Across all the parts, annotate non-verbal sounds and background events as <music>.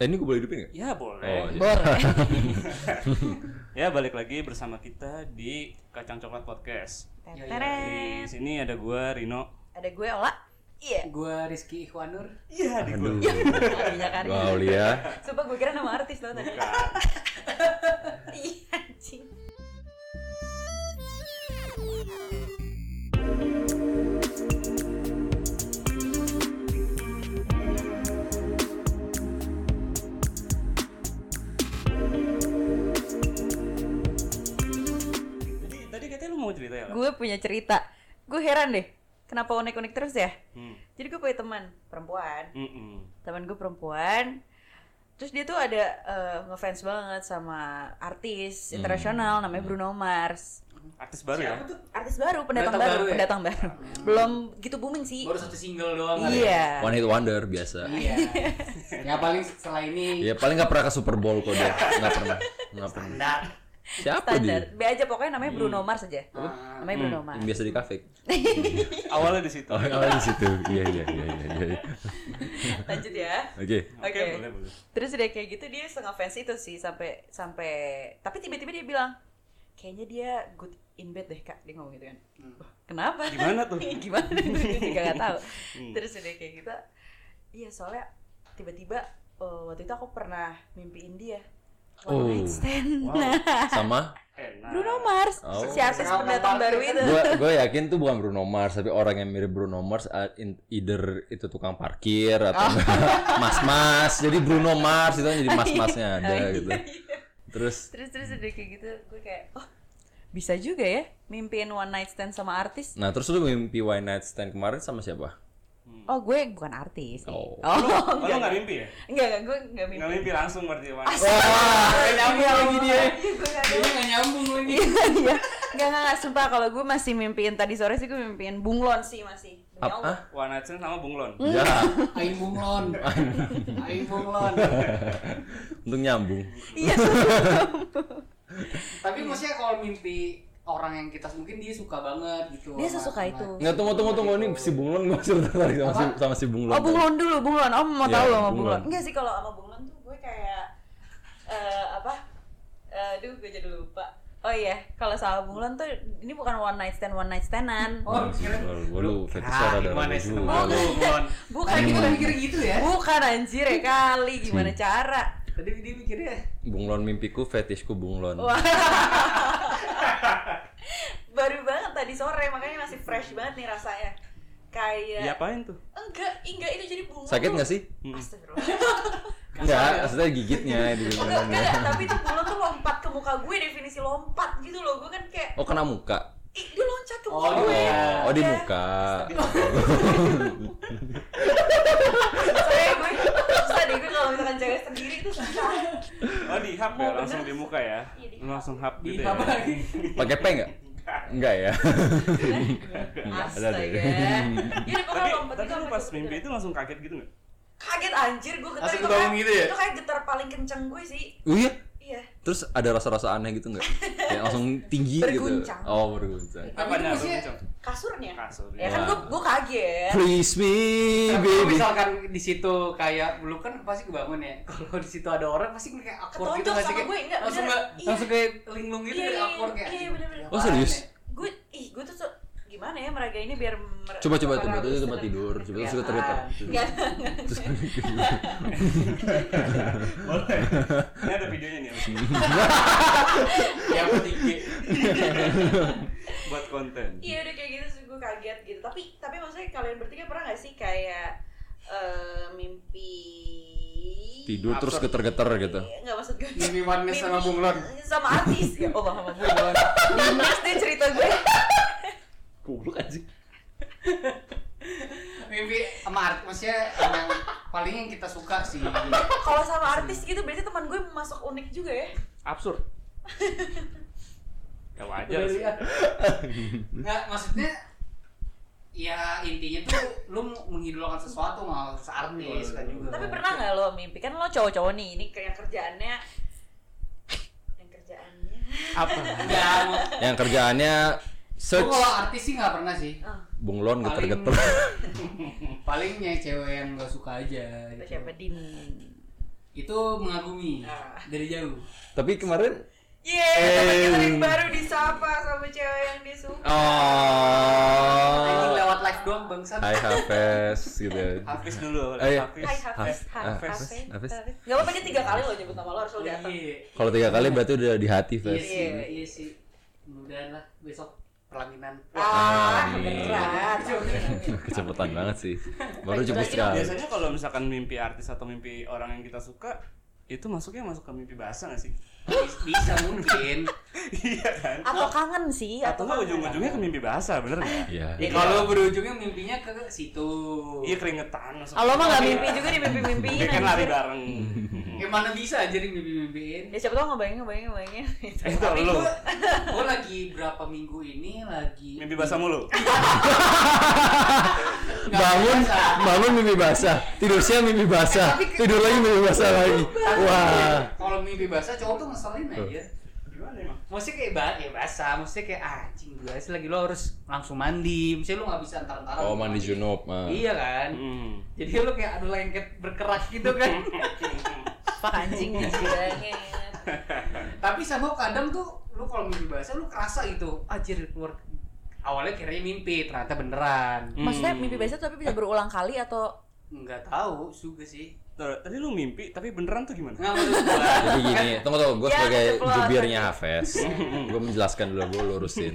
Eh, ini gue boleh hidupin nggak? Ya Oh, boleh. iya. Bor. ya balik lagi bersama kita di Kacang Coklat Podcast. Di Teret. sini ada gua Rino. Ada gue Ola. Iya. Gua Rizky Ikhwanur. Iya, di Aduh. Iya kan. Wow, Lia. Sumpah gue kira nama artis loh <laughs> tadi. Iya anjing. Jadi tadi katanya lu mau cerita ya? Lan? Gue punya cerita. Gue heran deh. Kenapa unik-unik terus ya? Hmm. Jadi gue punya teman perempuan. Mm-mm. Teman gue perempuan. Terus dia tuh ada eh, ngefans banget sama artis internasional namanya Bruno Mars. Artis baru ya? Artis baru, pendatang Pendatang baru, baru ya? pendatang baru. Belum gitu booming Iya. sih. Baru satu single doang kali. Iya. One hit wonder biasa. Iya. <laughs> ya paling setelah ini Ya paling nggak pernah ke Super Bowl kok dia. Nggak <laughs> pernah. Nggak pernah. standar. Siapa Standar. dia? B aja pokoknya namanya Bruno Mars aja. Ah, Namanya Bruno Mars. Yang biasa di kafe. Awalnya di situ. Oh, Oke, oh, di situ. Iya, iya, iya, iya. iya. <laughs> Lanjut ya. Oke. Oke. boleh boleh. Terus udah kayak gitu dia sengofens itu sih sampai sampai tapi tiba-tiba dia bilang kayaknya dia good in bed deh kak dia ngomong gitu kan. Wah, Kenapa? Hmm. Gimana tuh? <laughs> Hmm. Gimana? Gue juga <laughs> gak tahu. Terus udah kayak gitu. Iya soalnya tiba-tiba eh, waktu itu aku pernah mimpiin dia. One Oh. night Wow. stand. Nah, Sama Enak. Bruno Mars, Oh. si artis pendatang baru itu. <laughs> gue gue yakin tuh bukan Bruno Mars tapi orang yang mirip Bruno Mars uh, in- either itu tukang parkir <laughs> atau <laughs> mas-mas jadi Bruno Mars itu kan jadi mas-masnya ada Oh, iya, gitu iya. terus Terus terus udah kayak gitu gue kayak oh bisa juga ya mimpiin one night stand sama artis. nah terus lu mimpi Why Night Stand kemarin sama siapa Oh gue bukan artis. sih. Oh. Oh, lu nggak mimpi ya? Enggak, enggak, gue enggak mimpi. Nggak mimpi langsung berarti ya, Wan. lagi dia Iya, <laughs> gue enggak Ini nggak nyambung lagi. Iya, iya. Enggak, enggak, enggak, sumpah kalau gue masih mimpiin tadi sore sih gue mimpiin bunglon sih masih. Apa? Demi Ya Allah. Hmm. One Night Stand sama Nah, Bunglon. ya Aing <laughs> bunglon. Aing bunglon. untung nyambung <laughs> Iya. Tapi maksudnya kalau mimpi orang yang kita mungkin dia suka banget gitu. Dia sama- sesuka sama- itu. nggak tunggu tunggu tunggu ini si Bunglon gue masih tertarik sama si sama si Bunglon Oh, bunglon dulu, bunglon. Oh, mau Iya, tahu lo sama bunglon. bunglon. Enggak sih kalau sama bunglon tuh gue kayak eh apa? Eh, aduh, gue jadi lupa. Oh iya, kalau sama bunglon tuh ini bukan one night stand, one night standan. oh gue lu fetish Ah, orang gimana dari sih? dulu Sama Bunglon. Bukan Tadi kita gitu. mikir gitu ya. Bukan anjir ya kali, gimana cara? Tadi dia mikirnya Bunglon mimpiku fetishku Bunglon Wah. Baru banget tadi sore, makanya masih fresh banget nih rasanya. Kayak Diapain tuh? enggak, enggak itu jadi bunglon. Iya, sakit nggak sih Astagfirullah. Enggak, maksudnya gigitnya di Enggak, enggak, enggak, tapi itu bunglon tuh lompat ke muka gue, definisi lompat gitu loh. Gue kan kayak Oh kena muka. ih, dia loncat ke muka Oh, gue. iya. Oh di Iya. muka. Soalnya gue susah deh gue kalau misalkan cewek sendiri itu susah. Oh di hap ya, langsung di muka ya. Iya, di Lu langsung hap di gitu apa ya. lagi? Pakai peng nggak? Enggak ya. ada Astaga. deh. Iya, dia pokoknya Tapi lompat tadi gitu lu sampai pas ke- mimpi itu langsung kaget gitu nggak? kaget anjir gue getar Langsung itu kebangun kayak gitu ya? itu kayak getar paling kenceng gue sih. Oh iya. Iya. Terus ada rasa-rasa aneh gitu nggak? Kayak langsung tinggi Berguncang. gitu. Oh berguncang. Tapi itu Apanya? Lu maksudnya- kenceng? kasurnya Kasur. ya kan Wah. gue gue Iya. kaget Please me Kalau baby. misalkan di situ kayak belum kan pasti kebangun ya. Kalau di situ ada orang pasti kayak awkward gitu Ketonjok nggak sih? sama Kayak gue, enggak, langsung beneran. nggak- Iya. langsung kayak linglung gitu Iya, kayak iya, awkward kayak. iya, bener-bener. Oh serius? gue ih gue tuh se- gimana ya meraga ini biar mer- Coba coba coba itu meraga coba sebenarnya. tidur. Coba Iya. terus gue Kelihatan. tergetar. Nggak, Terus Boleh. Ini ada videonya nih abis ini. ya? Yang tinggi. buat konten. <laughs> iya udah kayak gitu terus gue kaget gitu tapi tapi maksudnya kalian bertiga pernah gak sih kayak eh, mimpi tidur terus geter-geter gitu. Enggak maksud gue Mimpi One Night sama Bunglon. Sama artis ya, Oh sama <laughs> bunglon Bunglon dia cerita gue Goblok anjing. Mimpi sama art, maksudnya yang paling yang kita suka sih. Kalau sama artis gitu biasanya teman gue masuk unik juga ya Absurd. Ya wajar sih. Nggak, maksudnya ya intinya tuh lu mengidolakan sesuatu mau seartis kan juga. Tapi pernah nggak lo mimpi kan lo cowok-cowok nih ini kayak kerjaannya yang kerjaannya Apa? Enggak, mau- Yang kerjaannya Gua search kalau artis sih nggak pernah sih. oh, bunglon <laughs> geter-geter. Palingnya cewek yang gak suka aja. siapa din itu mengagumi Ah. dari jauh Tapi kemarin Yeay, teman kita Eh. yang baru disapa sama cewek yang disuka. Anjing oh lewat live doang bangsa I have fast gitu. Hafiz dulu. Eh, iya. Hafiz. Hai Hafiz, Hafiz, hai Hafiz, Hafiz, Hafiz. Hafiz. Gak apa-apa dia tiga kali lo nyebut nama lo harus lo datang. iya Kalau tiga kali berarti udah di hati iya fast. sih Iya. iya sih mudah-mudahan lah besok pelaminan Ah, Amin. berat. <laughs> Kecepatan banget sih. Baru cepet Nah, sekali. biasanya kalau misalkan mimpi artis atau mimpi orang yang kita suka itu masuknya masuk ke mimpi basah nggak sih? <laughs> Bis- bisa mungkin Iya kan? Atau kangen Atau sih, Iya, atau nggak kangen. ujung-ujungnya ke mimpi basah, bener nggak? Iya. ya <laughs> kalau berujungnya mimpinya ke situ Iya keringetan. Ah, lo mah gak mimpi juga di mimpi-mimpiin. Dia kan lari anjir. <laughs> bareng. Eh mana bisa jadi mimpi-mimpiin? Ya siapa tau ngebayangin, ngebayangin, ngebayangin. Eh, Itu Tapi lu. gue gue Oh, lagi berapa minggu ini lagi Mimpi basah mulu. Nggak Bangun, biasa. bangun mimpi basah. Tidur siang mimpi basah. Tidur lagi mimpi basah lagi. Wah. Kalau mimpi basah cowok tuh ngeselin aja. Gimana emang? Maksudnya kayak ba ya basah, maksudnya kayak ah, anjing gue sih lagi lo harus langsung mandi. Maksudnya lo nggak bisa antar-antar. Oh mandi junub. ah. Iya kan? Hmm. Jadi lo kayak ada lengket berkerak gitu kan. Hmm. Pak anjing ya, bilangnya. Tapi sama kadang tuh lo kalau mimpi basah lo kerasa gitu. Anjir keluar. Awalnya kiranya mimpi, ternyata beneran. Maksudnya Hmm. mimpi biasa tapi bisa berulang kali atau Nggak tahu juga sih. Tuh, Tadi lu mimpi tapi beneran tuh gimana? Nggak <laughs> maksud gua. Jadi <laughs> gini, tunggu tunggu, gue Ya, sebagai keceplosan. jubirnya Hafes, gue menjelaskan dulu, gue <laughs> lurusin.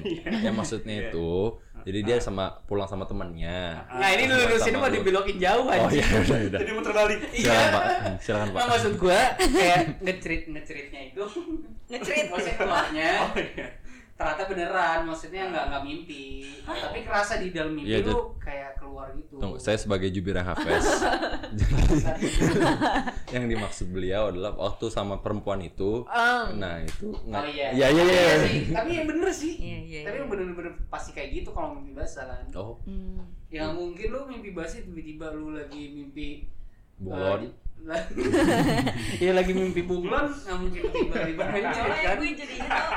Ya Iya. maksudnya itu, jadi Ah. dia sama pulang sama temennya. Nah ini Pulang lurusin sama Ah, mau lu. dibelokin jauh aja. Oh iya udah <laughs> udah. Jadi muter balik. Iya. Silakan pak, Hmm, silakan pak. Nah, maksud gue kayak ngecerit ngeceritnya <laughs> itu Ngecerit. maksudnya keluarnya Oh iya. ternyata beneran maksudnya nggak nggak mimpi tapi kerasa di dalam mimpi Iya, lu jadi- kayak keluar gitu Tunggu, saya sebagai jubirnya <laughs> Hafes. Jadi, yang dimaksud beliau adalah waktu sama perempuan itu, Em. nah itu nggak. oh iya iya iya. Iya iya. sih, tapi yang bener sih Iya, iya, tapi iya. yang bener-bener pasti kayak gitu kalau mimpi basah kan Oh Hmm. ya mungkin lu mimpi basah tiba-tiba lu lagi <laughs> mimpi bolon. eh, ya lagi mimpi bunglon nggak mungkin <laughs> tiba-tiba Iya, aja Soalnya kan gue jadinya tuh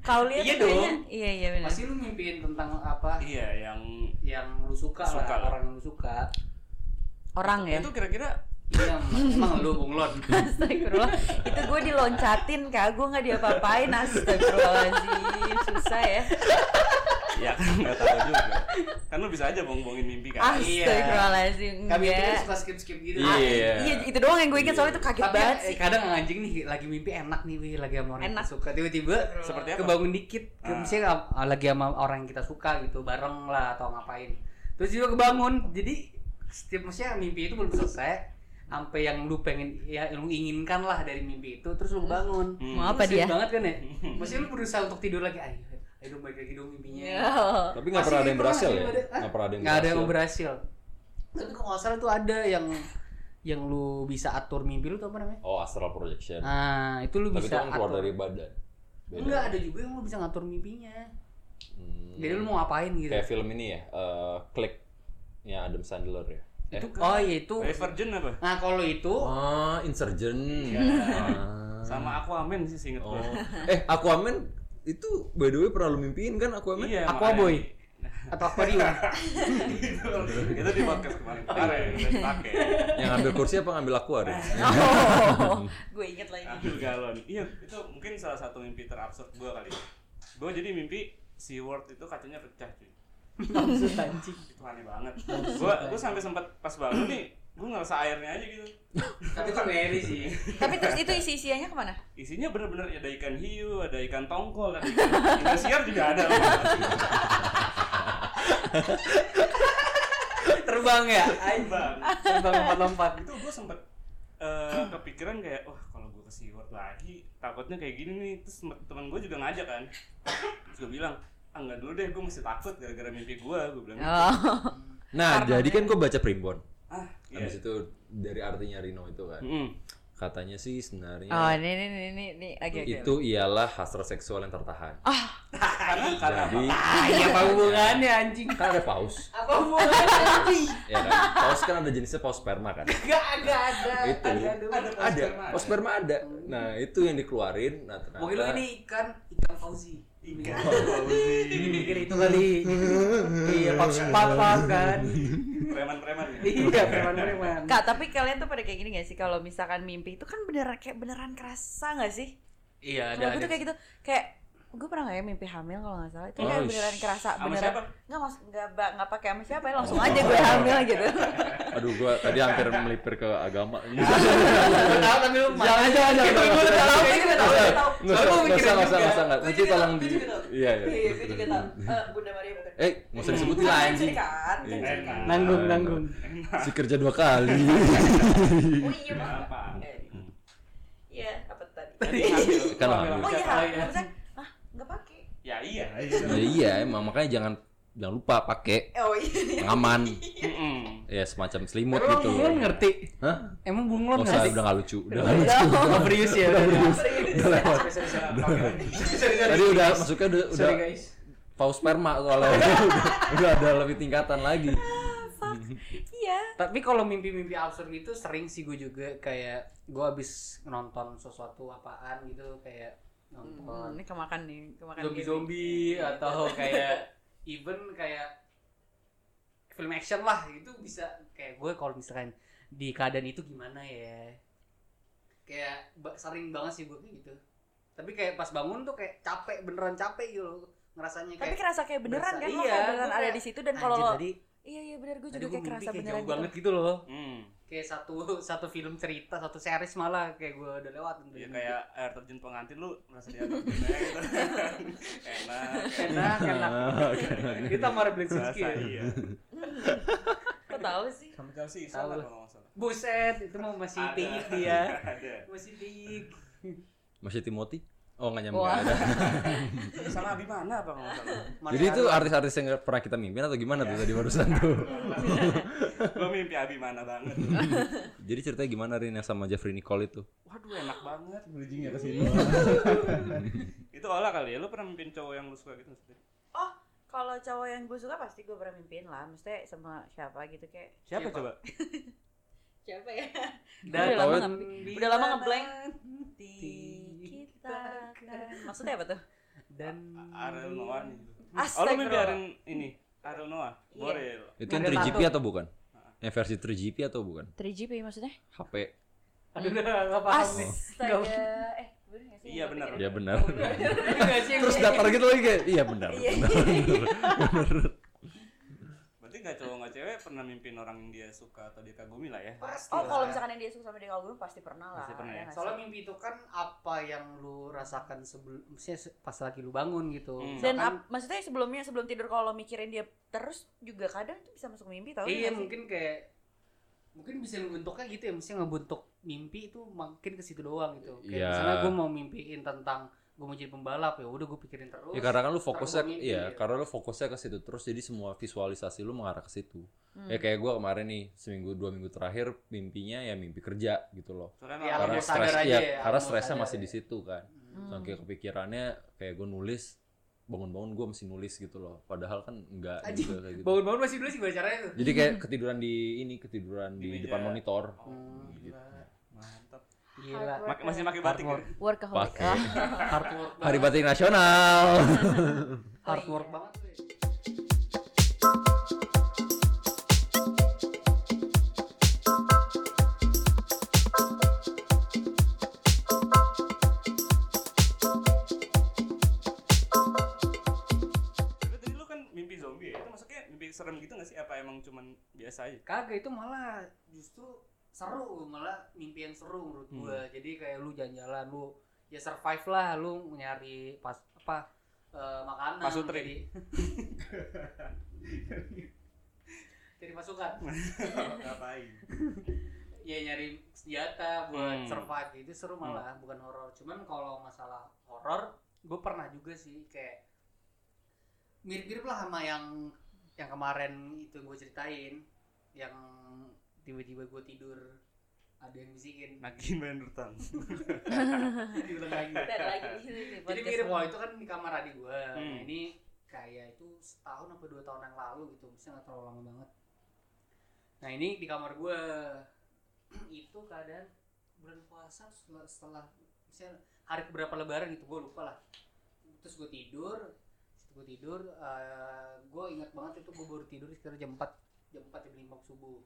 kau lihat Iya tuh kayaknya- dong. Iya iya benar. pasti lu mimpiin tentang apa Iya, yang yang lu suka, Suka lah, lah. orang yang lu suka Orang ya. itu <laughs> kira-kira iya emang lu bunglon Astagfirullah. Itu gue diloncatin kak, gue nggak diapa-apain astagfirullahaladzim. Susah ya. ya kan nggak tahu juga. Kan lu bisa aja bohong-bohongin mimpi Ah. kan. Astagfirullahaladzim. kami itu Enggak. suka skip skip gitu Iya. Iya, itu doang yang gue inget soalnya itu kaget tapi banget eh, sih. kadang anjing nih lagi mimpi enak nih wih lagi sama orang yang Enak. kita suka tiba-tiba Seperti apa? kebangun dikit ke Ah. misalnya nggak- lagi sama orang yang kita suka gitu bareng lah atau ngapain terus juga kebangun jadi setiap maksudnya mimpi itu belum selesai sampai yang lu pengen ya yang lu inginkan lah dari mimpi itu terus lu bangun Hmm. Mau apa Lu sedih dia? banget <laughs> kan ya maksudnya lu berusaha untuk tidur lagi ayo ayo dong balik lagi dong mimpinya <laughs> Tapi nggak Masih pernah ada yang pernah berhasil sih, ya. ada- Hah? Nggak pernah ada yang nggak ada yang berhasil. berhasil tapi kalau nggak salah tuh ada yang yang lu bisa atur mimpi lu tuh apa namanya Oh astral projection. nah itu lu Tapi itu bisa kan keluar atur dari badan. Beda. enggak ada juga yang lu bisa ngatur mimpinya Hmm. jadi lu mau ngapain gitu Kayak film ini ya, eh klik nya Adam Sandler ya. Eh. Itu oh iya itu Divergent apa? nah kalau itu Ah, Insurgent. Ah. Sama Aquaman sih seinget Oh. gua. Eh, Aquaman itu by the way pernah lu mimpiin kan Aquaman? Iya, Aquaboy. makanya. atau aquarium itu itu di podcast kemarin kemarin udah dipakai Yang ngambil kursi apa ngambil aquarium? Oh, gue inget lah ini. ambil galon iya itu mungkin salah satu mimpi terabsurd gue kali gue jadi mimpi SeaWorld itu kacanya pecah cuy <laughs> maksud anjing itu aneh banget gue gue sampai sempat pas bangun nih gue ngerasa airnya aja gitu tapi itu ngeri sih Tapi terus itu isi isiannya kemana? isinya bener-bener ada ikan hiu ada ikan tongkol ada ikan <laughs> ikan siar juga ada loh. terbang ya Terbang. terbang lompat-lompat itu gue sempet eh, kepikiran kayak wah kalau gue ke SeaWorld lagi takutnya kayak gini nih terus tem- temen gue juga ngajak kan terus gue bilang ah nggak dulu deh gue masih takut gara-gara mimpi gue gue bilang gitu. Oh. Nah, jadi kan gue baca primbon. ah iya Hmm. Habis itu dari artinya Rino itu kan. Mm-mm. Katanya sih sebenarnya iya, Oh, ini ini ini ini, ini. Oke, oke. itu ialah hasrat seksual yang tertahan. karena karena Jadi ah iya apa hubungannya <laughs> anjing kan ada paus, apa hubungannya anjing ya kan? Paus kan ada jenisnya paus sperma kan. Gak ada ada Itu. ada Oh, Ada, paus sperma ada. Nah, itu yang dikeluarin. Nah, ternyata Mungkin lu ini ikan ikan Fauzi. Tiga. Iya. Bagus sih. mikir itu kali iya pop pop kan Preman-preman ya. iya preman preman Kak, tapi kalian tuh pada kayak gini gak sih kalau misalkan mimpi itu kan beneran kayak beneran kerasa gak sih? Kalau iya ada gue ada tuh kayak gitu, kayak gue pernah gak ya mimpi hamil kalau nggak salah itu kayak Oh, beneran sh- kerasa Sama beneran siapa? nggak mas nggak ba- nggak pakai sama siapa ya langsung Oh. aja gue <laughs> hamil gitu Aduh, gua tadi hampir melipir ke <laughs> agama. tahu tapi lu jangan jangan jangan gue udah tahu gue udah tahu Nggak Soalnya usah, nggak gua usah, mikirin nggak usah, juga. nggak usah, nggak. Gua Nanti juga tolong tahu, di. gua juga tahu. Iya, iya. iya gue juga tahu Eh, bunda Maria bukan Eh, nggak usah disebutin lah Kan anjing. kan Iya. kan nanggung nanggung Si kerja dua <laughs> kali. oh iya Mas. Apa? Eh, iya apa tadi Kan oh iya Siapa lagi ya? maksudnya ah nggak pakai Ya iya. Ya iya, emang makanya jangan jangan lupa pakai <laughs> oh iya pengaman Mm-mm. ya semacam selimut tapi emang gitu. bunglon ngerti Hah? emang bunglon Nggak usah, ngerti udah nggak lucu. Udah nggak lucu. udah berius ya udah Udah lewat. Bisa pakai lagi. Tadi udah masuknya udah udah sorry guys paus sperma soalnya. Udah- <laughs> Udah ada lebih tingkatan lagi. iya tapi kalau mimpi-mimpi absurd gitu sering sih gue juga kayak gue abis nonton sesuatu apaan gitu kayak Hmm, nonton ini kemakan nih kemakan zombie zombie atau kayak even kayak film action lah itu bisa kayak gue kalau misalkan di keadaan itu gimana ya kayak ba- sering banget sih gue kayak gitu tapi kayak pas bangun tuh kayak capek beneran capek gitu loh, ngerasanya tapi kayak kerasa kayak beneran berasa- kan lo iya, kayak beneran gua ada kayak, di situ dan "Anjir, kalau lo tadi iya iya benar gue tadi juga gue kayak mimpi kerasa kayak beneran jauh gitu banget gitu loh Hmm. kayak satu satu film cerita satu series malah kayak gue udah lewat Ya kayak air terjun pengantin lu merasa di air terjun aja gitu. Enak. enak <laughs> enak kita mau Blitzinski Merasa ya iya. Kok tahu sih? Sampai jauh sih salah Tahu. kalau nggak salah. buset itu mau masih Ada. tinggi dia Ada. masih tinggi Masih Timothy? Oh, nggak nyambung. Wah. nggak ada. Sama Abi mana apa kalau nggak salah? Jadi itu artis-artis yang nggak pernah kita mimpin atau gimana tuh tadi barusan tuh? <laughs> Iya. Gua mimpi Abi mana banget. Jadi ceritanya gimana Rin yang sama Jeffrey Nicole itu? Waduh enak banget. bridgingnya ke sini <laughs> Itu olah kali ya. Lu pernah mimpin cowok yang lu suka gitu maksudnya? Oh, kalau cowok yang gue suka pasti gue pernah mimpiin lah. Mesti sama siapa gitu kayak Siapa, Siapa? coba? siapa ya? Udah dan lama Taunya- nge- Udah lama ngeblank. Di kita kan. Maksudnya apa tuh? dan Hmm. Ariel Noah nih. Oh lu mimpi Astagfirullah. Ariel ini? Ariel Noah? Iya. Boril. Itu yang Model 3GP satu. atau bukan? Yang versi 3GP atau bukan? 3GP maksudnya? HP. Iya, aduh udah nggak paham nih Astaga. Eh, bener nggak sih? iya, Iya, Gua bener. pikirin. Ya benar. Nggak sih, <laughs> Terus datar gitu lagi kayak, iya benar. Iya. benar, <laughs> benar. Berarti nggak cowok nggak cewek pernah mimpin orang yang dia suka atau dia kagumi lah ya. pasti Oh, lah. kalau misalkan yang dia suka sama dia kalau gue pasti pernah lah. Pasti pernah ya ya. nggak sih? soalnya mimpi itu kan apa yang lu rasakan sebelum maksudnya se- pas lagi lu bangun gitu Hmm. dan Misalkan- ap- maksudnya sebelumnya sebelum tidur kalau mikirin dia terus juga kadang tuh bisa masuk mimpi tau iya nggak sih? mungkin kayak mungkin bisa bentuknya gitu ya mesti ngebentuk mimpi itu makin ke situ doang gitu kayak Iya. misalnya gue mau mimpiin tentang gue mau jadi pembalap ya udah gue pikirin terus Ya karena kan lu fokusnya Terus iya, mimpi. karena lu fokusnya ke situ terus jadi semua visualisasi lu mengarah ke situ. Hmm. Ya kayak gua kemarin nih seminggu dua minggu terakhir mimpinya ya mimpi kerja gitu loh. Soalnya Iya, malam- Karena mau sadar stres aja ya, ya, karena mau stresnya sadar masih ya. di situ kan. Hmm. Soalnya kayak kepikirannya kayak gue nulis bangun-bangun gue masih nulis gitu loh. Padahal kan enggak Anjing, gitu kayak gitu. bangun-bangun masih dulu sih gimana caranya tuh Jadi kayak ketiduran di ini, ketiduran Di di, meja. depan monitor. Oh, gila. Mantap. gila Hard work. Mak- masih pakai hard batik. work ya? Workaholic. Ah, Pakai. hard work Hari banget. Batik <laughs> Nasional. hard work iya. banget tuh. ya. Tapi tadi lu kan mimpi zombie ya. Itu maksudnya mimpi serem gitu nggak sih? Apa emang cuman biasa aja? <laughs> kagak itu malah justru seru malah mimpi yang seru menurut Hmm. gua jadi kayak lu jalan-jalan lu ya survive lah lu nyari pas apa eh, makanan Pasutri. jadi <laughs> jadi pasukan Ngapain? ya nyari senjata Hmm. buat survive itu seru malah bukan horor cuman kalau masalah horor gue pernah juga sih kayak mirip-mirip lah sama yang yang kemarin itu gue ceritain yang tiba-tiba gue tidur ada yang bisikin <laughs> Nagih main rutang. diulang lagi Dan lagi di sini nih, <laughs> jadi podcast mirip semua. wah itu kan di kamar adik gue nah, Hmm. ini kayak itu setahun apa dua tahun yang lalu gitu mesti nggak terlalu lama banget nah ini di kamar gue <clears throat> itu keadaan bulan puasa setelah setelah misalnya hari keberapa lebaran gitu gue lupa lah terus gue tidur gue tidur eh, gue ingat banget itu gue baru tidur sekitar jam 4 jam 4 jam 5 subuh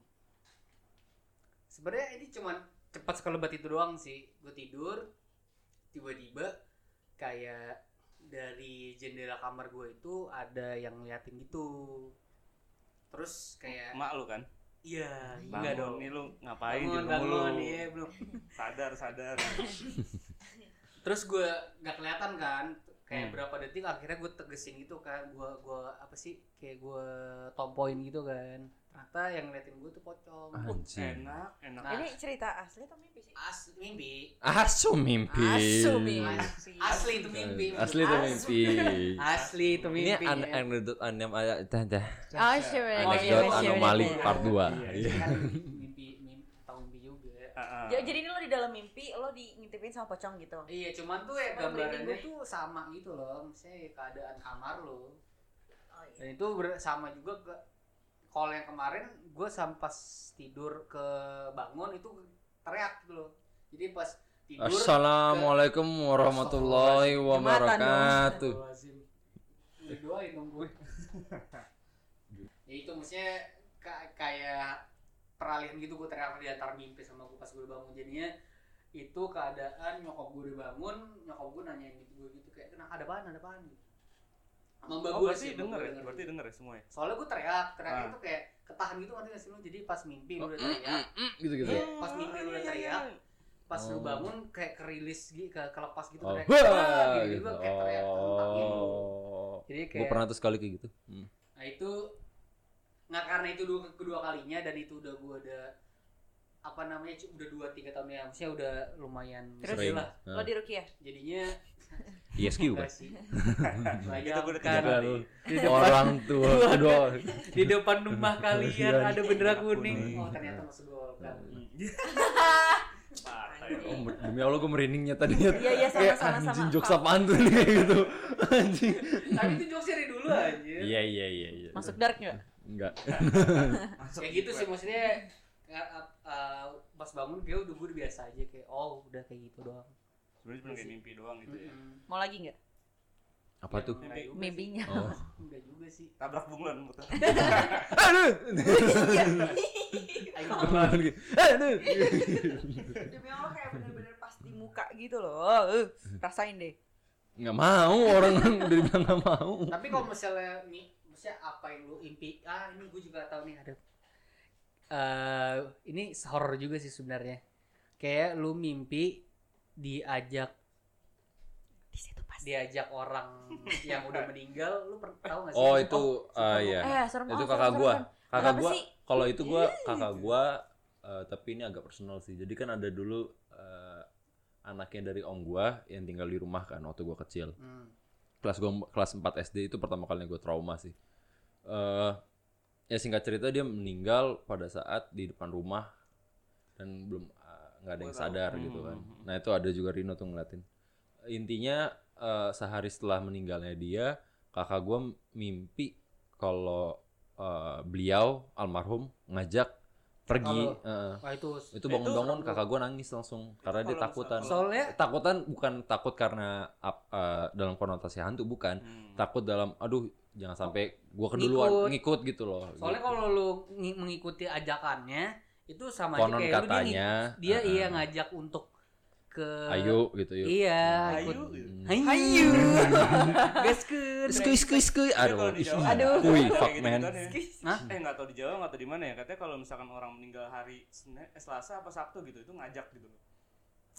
sebenarnya ini cuman cepat sekelebat itu doang sih gue tidur tiba-tiba kayak dari jendela kamar gue itu ada yang ngeliatin gitu terus kayak Mak lu kan? iya Bangun enggak dong nih lu ngapain di Bangun, rumah lu? bangun, iya, belum Sadar, sadar. terus gue nggak kelihatan kan kayak Hmm. berapa detik akhirnya gue tegesin gitu kan gue gua apa sih kayak gue tompoin gitu kan ternyata yang ngeliatin gue tuh pocong Ah. Anjing. enak, enak. Nah. Ini cerita asli atau mimpi sih? as mimpi Asu mimpi. Asu mimpi. asli itu mimpi Asli itu mimpi. asli itu Ini mimpi an- ya. iya, anekdot anem aja dah. Oh, sure. Anekdot sure, sure. anomali part 2. Iya. Itu kan mimpi mimpi tahu mimpi juga Ah, ah. Ja- Jadi ini lo di dalam mimpi, lo di ngintipin sama pocong gitu. Iya, cuman tuh ya Sama gambarannya merinding tuh sama gitu loh, misalnya ya keadaan kamar lo. Oh iya. Dan itu ber- sama juga ke kalau yang kemarin gue sampas tidur ke bangun itu teriak gitu loh. Jadi pas tidur Assalamualaikum warahmatullahi wabarakatuh. Astagfirullahaladzim. Didoain dong gue. <laughs> ya itu maksudnya ka- kayak peralihan gitu gue teriak di antar mimpi sama gue pas gue bangun jadinya itu keadaan nyokap gue udah bangun nyokap gue nanyain gitu gue gitu kayak kenapa ada apaan ada apaan gitu sama mbak Oh, gue berarti sih denger mbak ya? gue Berarti denger ya semua ya? soalnya gue teriak teriak Ah. itu kayak ketahan gitu nanti sih lu jadi pas mimpi Oh. lu udah teriak Mm, Gitu-gitu. Iya, pas mimpi lu udah iya, iya. teriak pas lu Oh. bangun kayak kerilis gitu ke kelepas gitu Oh, teriak wah, "Wah," gitu gitu. gue kayak teriak tentang gitu Oh. jadi Gue kayak pernah tuh sekali kayak gitu. Hmm. nah itu nggak karena itu dua, kedua kalinya dan itu udah gue udah apa namanya cu- udah dua tiga tahun ya maksudnya udah lumayan Terus? sering Sering. Nah. lah Lo ya? di Iya. Rukiah? jadinya ISQ enggak kan? <laughs> sih Itu gue Gitu udah tiga bayangkan kali. di depan Orang tua kedua. di depan rumah kalian ada bendera kuning Kuning. Iya. oh ternyata masuk gol kan Parah ya. Oh, mer- demi Allah gue merindingnya tadinya Iya, iya, sama, kayak sama, sama. anjing jokes apaan tuh nih kayak gitu anjing tapi itu jokes dari dulu aja iya iya iya iya Masuk dark nggak? enggak Masuk kayak gitu gue. sih maksudnya ka- ap- uh, pas bangun kayak udah gue udah biasa aja kayak oh udah kayak gitu doang Sebenarnya cuma kayak mimpi doang gitu ya. Mm-mm. Mau lagi nggak? apa tuh Enggak juga sih. Mimpinya. <laughs> <laughs> oh enggak juga sih Tabrak bunglon muter. aduh Ayo, Apaan gitu? aduh Demi Allah kayak bener-bener pas di muka gitu loh. Eh, rasain deh. nggak mau orang <laughs> dari bilang nggak mau tapi kalau misalnya nih misalnya apa yang lu impi ah ini gue juga tahu nih ada Eh, ini horror juga sih sebenarnya kayak lu mimpi diajak Di situ pas. diajak <laughs> orang yang udah meninggal lu per- tahu nggak sih oh itu ah iya Eh, serem itu ah, kakak serem, gua serem. kakak Kenapa gua sih? kalau itu gua kakak gua eh, tapi ini agak personal sih jadi kan ada dulu eh, anaknya dari om gua yang tinggal di rumah kan waktu gua kecil Hmm. kelas gua kelas 4 SD itu pertama kalinya gue trauma sih. eh ya singkat cerita dia meninggal pada saat di depan rumah dan belum eh, nggak ada Gua yang tahu. sadar gitu kan. Hmm. Nah itu ada juga Rino tuh ngeliatin. Intinya eh, sehari setelah meninggalnya dia kakak gue mimpi kalau eh, beliau almarhum ngajak pergi. Kalau- eh, wah itu itu bangun-bangun serem kakak gue nangis langsung karena dia kalau takutan. misalnya- soalnya Takutan bukan takut karena ap- eh, dalam konotasi hantu bukan Hmm. takut dalam aduh jangan sampai gua keduluan ngikut, gitu loh Soalnya Gitu. kalau lu ngi- mengikuti ajakannya itu sama konon aja kayak lu dia ngi- katanya dia, uh-uh, iya ngajak untuk ke ayo gitu yuk Hmm. Iya, Ayu, ikut. gitu. Ayo. <laughs> Ayu. Gaskeun. skuy skuy skuy Tapi aduh kalau di Jawa, Aduh. Kuy, ada fuck kayak man gitu-gituan ya. Hah? Eh nggak tahu di Jawa nggak tahu di mana ya katanya kalau misalkan orang meninggal hari Senin, eh, Selasa apa Sabtu gitu itu ngajak gitu loh.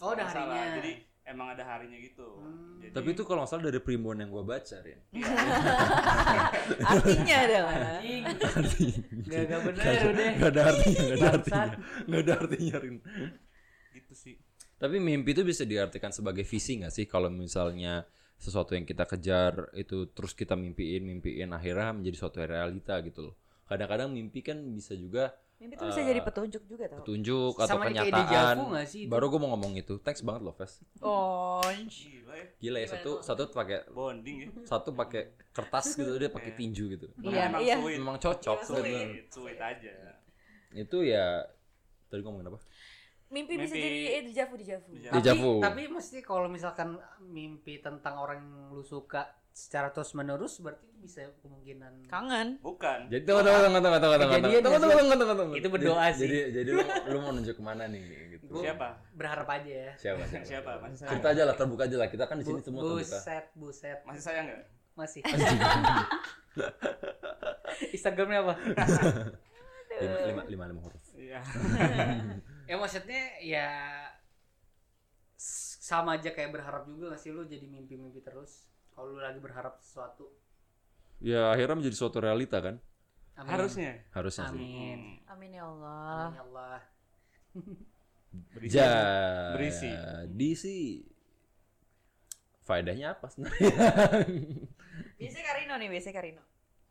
Oh, udah Nggak salah. harinya. Jadi emang ada harinya gitu. Hmm. Jadi, <laughs> ya, tapi itu kalau nggak salah dari primbon yang gua baca Rin Artinya <laughs> adalah. Anjing. Gak Gak gak bener udah. Gak ada artinya, gak ada artinya, Bangsat. gak ada artinya Rin. gitu sih. Tapi mimpi itu bisa diartikan sebagai visi gak sih? Kalau misalnya sesuatu yang kita kejar itu terus kita mimpiin, mimpiin akhirnya menjadi suatu realita gitu loh. Kadang-kadang mimpi kan bisa juga Mimpi tuh bisa jadi petunjuk juga tau. petunjuk atau Sama aja kayak kenyataan. dejavu nggak sih itu? Baru gue mau ngomong itu. Thanks banget loh, Fes. Gila Oh, ya Gila ya Gimana satu tuh? satu pakai bonding ya. satu pakai kertas gitu dia pakai Iya. tinju gitu. Iya, Emang iya. Sulit. Memang cocok Iya, bener. Sulit, sulit aja. Itu ya tadi gua ngomongin apa? mimpi, bisa Mimpi. jadi eh dejavu dejavu. Dejavu. Deja tapi, vu. tapi mesti kalau misalkan mimpi tentang orang yang lu suka secara terus menerus berarti itu bisa kemungkinan Kangen. Bukan. Jadi tunggu tunggu tunggu tunggu tunggu tunggu tunggu Kejadian tunggu nggak tunggu tunggu tunggu Itu berdoa Jadi- sih. Jadi jadi lu, lu mau nunjuk kemana nih gitu. Gua- Siapa? berharap aja ya Siapa? Siapa? Masih sayang. Cerita aja lah terbuka aja lah kita kan di sini Bu- semua terbuka. buset buset Masih sayang nggak? masih Instagramnya apa Lima lima lima lima huruf. Iya. ya maksudnya ya s- sama aja kayak berharap juga gak sih lu jadi mimpi-mimpi terus kalau lu lagi berharap sesuatu Ya akhirnya menjadi suatu realita kan Amin. Harusnya. Hmm. harusnya sih. amin Amin ya Allah. amin ya Allah Berisi. Berisi. Jadi sih faedahnya apa sebenarnya? Biasanya Karino nih, biasanya Karino.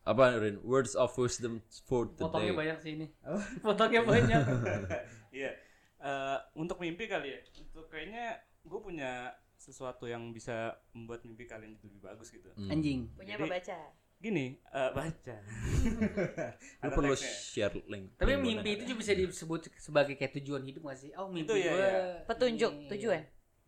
apa Rin? Words of wisdom for today. potongnya banyak sih ini potongnya <laughs> banyak Iya. Eh, untuk mimpi kali ya. Untuk kayaknya gue punya sesuatu yang bisa membuat mimpi kalian jadi lebih bagus gitu. Hmm. anjing Punya Jadi- apa baca? Gini, eh, baca. <laughs> Lu Ada perlu teksnya. share link. tapi link mimpi itu bonus. juga bisa disebut sebagai kayak tujuan hidup gak sih oh mimpi Itu iya, ya, gua ya. Petunjuk, ini. tujuan.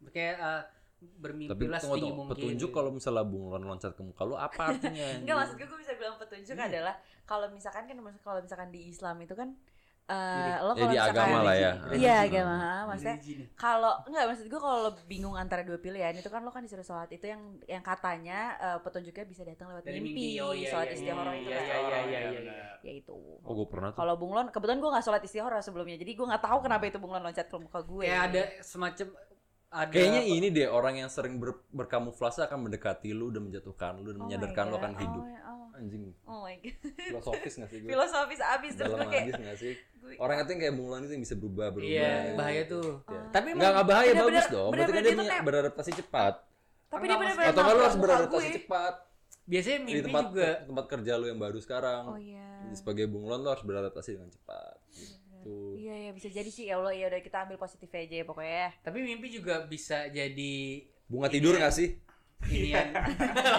kayak eh, Tapi bermimpilah tunggu setinggi tunggu mungkin petunjuk kalau misalnya bunglon loncat ke muka lu apa <laughs> artinya? Enggak maksud gue, gue bisa bilang petunjuk Iya. adalah kalau misalkan kan kalau misalkan di Islam itu kan eh, Ya Jadi- lo kalau di misalkan agama lah ya. Iya Hmm. agama, maksudnya Religi nih. kalau enggak maksud gue kalau lo bingung antara dua pilihan itu kan lo kan disuruh sholat itu yang yang katanya eh, petunjuknya bisa datang lewat Dari mimpi, mimpi, oh iya, sholat iya, istiqoroh iya, itu iya, kan. iya, iya, iya. benar. Ya itu. Oh gue pernah tuh. Kalau bunglon, kebetulan gue gak sholat istihara sebelumnya, jadi gue gak tahu kenapa itu bunglon loncat ke muka gue. kayak ada semacam ada Kayaknya iya, ini deh orang yang sering ber- berkamuflase akan mendekati lu dan menjatuhkan lu dan Oh my menyadarkan lu God. akan hidup. Oh, oh. Anjing, Oh my god, filosofis gak sih gue? filosofis abis terus Dalam gue kayak hadis gak sih? gue- Orang itu yang kayak bunglon itu yang bisa berubah berubah. Iya, bahaya tuh. Iya. Tapi emang Enggak enggak bahaya Bener-bener- bagus dong. Berarti kan bener-bener dia dia tuh punya kayak- beradaptasi cepat. Tapi Enggak, dia Mas. benar-benar Atau kan lu harus nabrak muka beradaptasi gue. cepat biasanya di mimpi tempat juga tempat kerja lu yang baru sekarang. Oh iya. Sebagai bunglon lu harus beradaptasi dengan cepat. Gitu. Iya ya bisa jadi sih ya Allah ya udah kita ambil positif aja ya pokoknya. tapi mimpi juga bisa jadi Bunga tidur Iya. gak sih? Iya. ini yang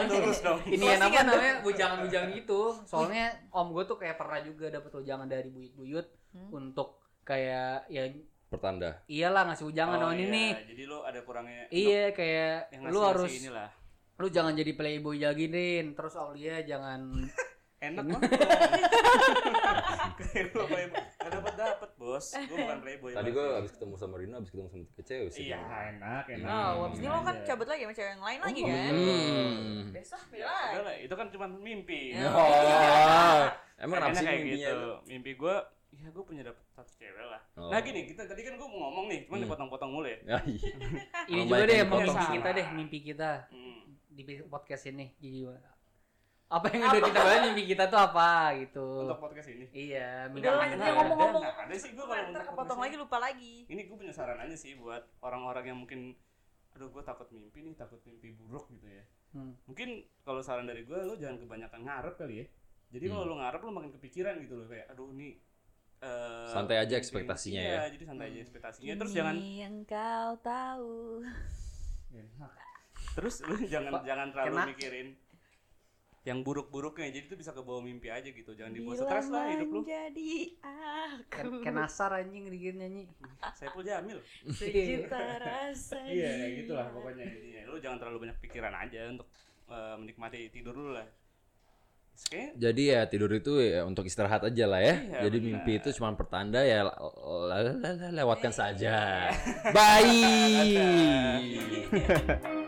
Lurus dong. ini yang apa kan namanya bujangan-bujangan gitu soalnya om gue tuh kayak pernah juga dapet bujangan dari buyut-buyut Hmm. untuk kayak ya Pertanda. iyalah ngasih bujangan Oh, oh, ini iya. nih Jadi lo ada kurangnya. iya kayak Yang lu ngasih-ngasih harus inilah. lu jangan jadi playboy lagi Rin terus Aulia jangan <laughs> Enak lah. Kayak gua playboy. Gak dapat dapat bos. Gue bukan playboy. Tadi banget. gue abis ketemu sama Rino, abis ketemu sama tiga cewek sih. Hmm. Iya enak enak. Oh, abis ini lo kan Iya. cabut lagi sama cewek yang lain lagi Iya. kan. Hmm. Besok Ya, bilang. udah lah, itu kan cuma mimpi. Ya. Oh, <laughs> emang kenapa Makanya sih kayak mimpinya? gitu. Mimpi gue, ya gue punya dapat satu cewek lah. Oh. Nah gini, kita tadi kan gue mau ngomong nih, cuman Hmm. dipotong-potong mulu ya. Ya, iya. Oh, ini juga baik, deh yang emang potong mimpi gitu, salah. kita deh mimpi kita Hmm. di podcast ini gimana apa yang udah kita bahas mimpi kita tuh apa gitu Untuk podcast ini. iya mimpi Udah, kita. lanjut aja ngomong. ngomong-ngomong. Ada, ada sih gue kalau Ntar untuk kepotong podcast lagi lupa lagi. ini gue punya saran aja sih buat orang-orang yang mungkin aduh gue takut mimpi nih takut mimpi buruk gitu ya Hmm. mungkin kalau saran dari gue lo jangan kebanyakan ngarep kali ya jadi Hmm. kalau lo ngarep lo makin kepikiran gitu loh kayak aduh nih eh, Santai aja mimpi- ekspektasinya iya, ya. jadi santai Hmm. aja ekspektasinya Iya, terus jangan yang kau tahu. terus lo <laughs> jangan Kok jangan terlalu enak? mikirin yang buruk-buruknya jadi itu bisa kebawa mimpi aja gitu jangan dibawa stres lah hidup lo <laughs> Jadi aku. Ken- kenasar anjing Rigir nyanyi saya pun jamil sejuta rasa. di- Iya, pokoknya intinya lo Iya, jangan terlalu banyak pikiran aja untuk eh, menikmati tidur dulu lah Kayaknya <laughs> Jadi ya tidur itu ya untuk istirahat aja lah ya. Iya, Jadi benar. mimpi itu cuma pertanda ya la- Iya. <laughs> la- la- la- lewatkan saja. Bye.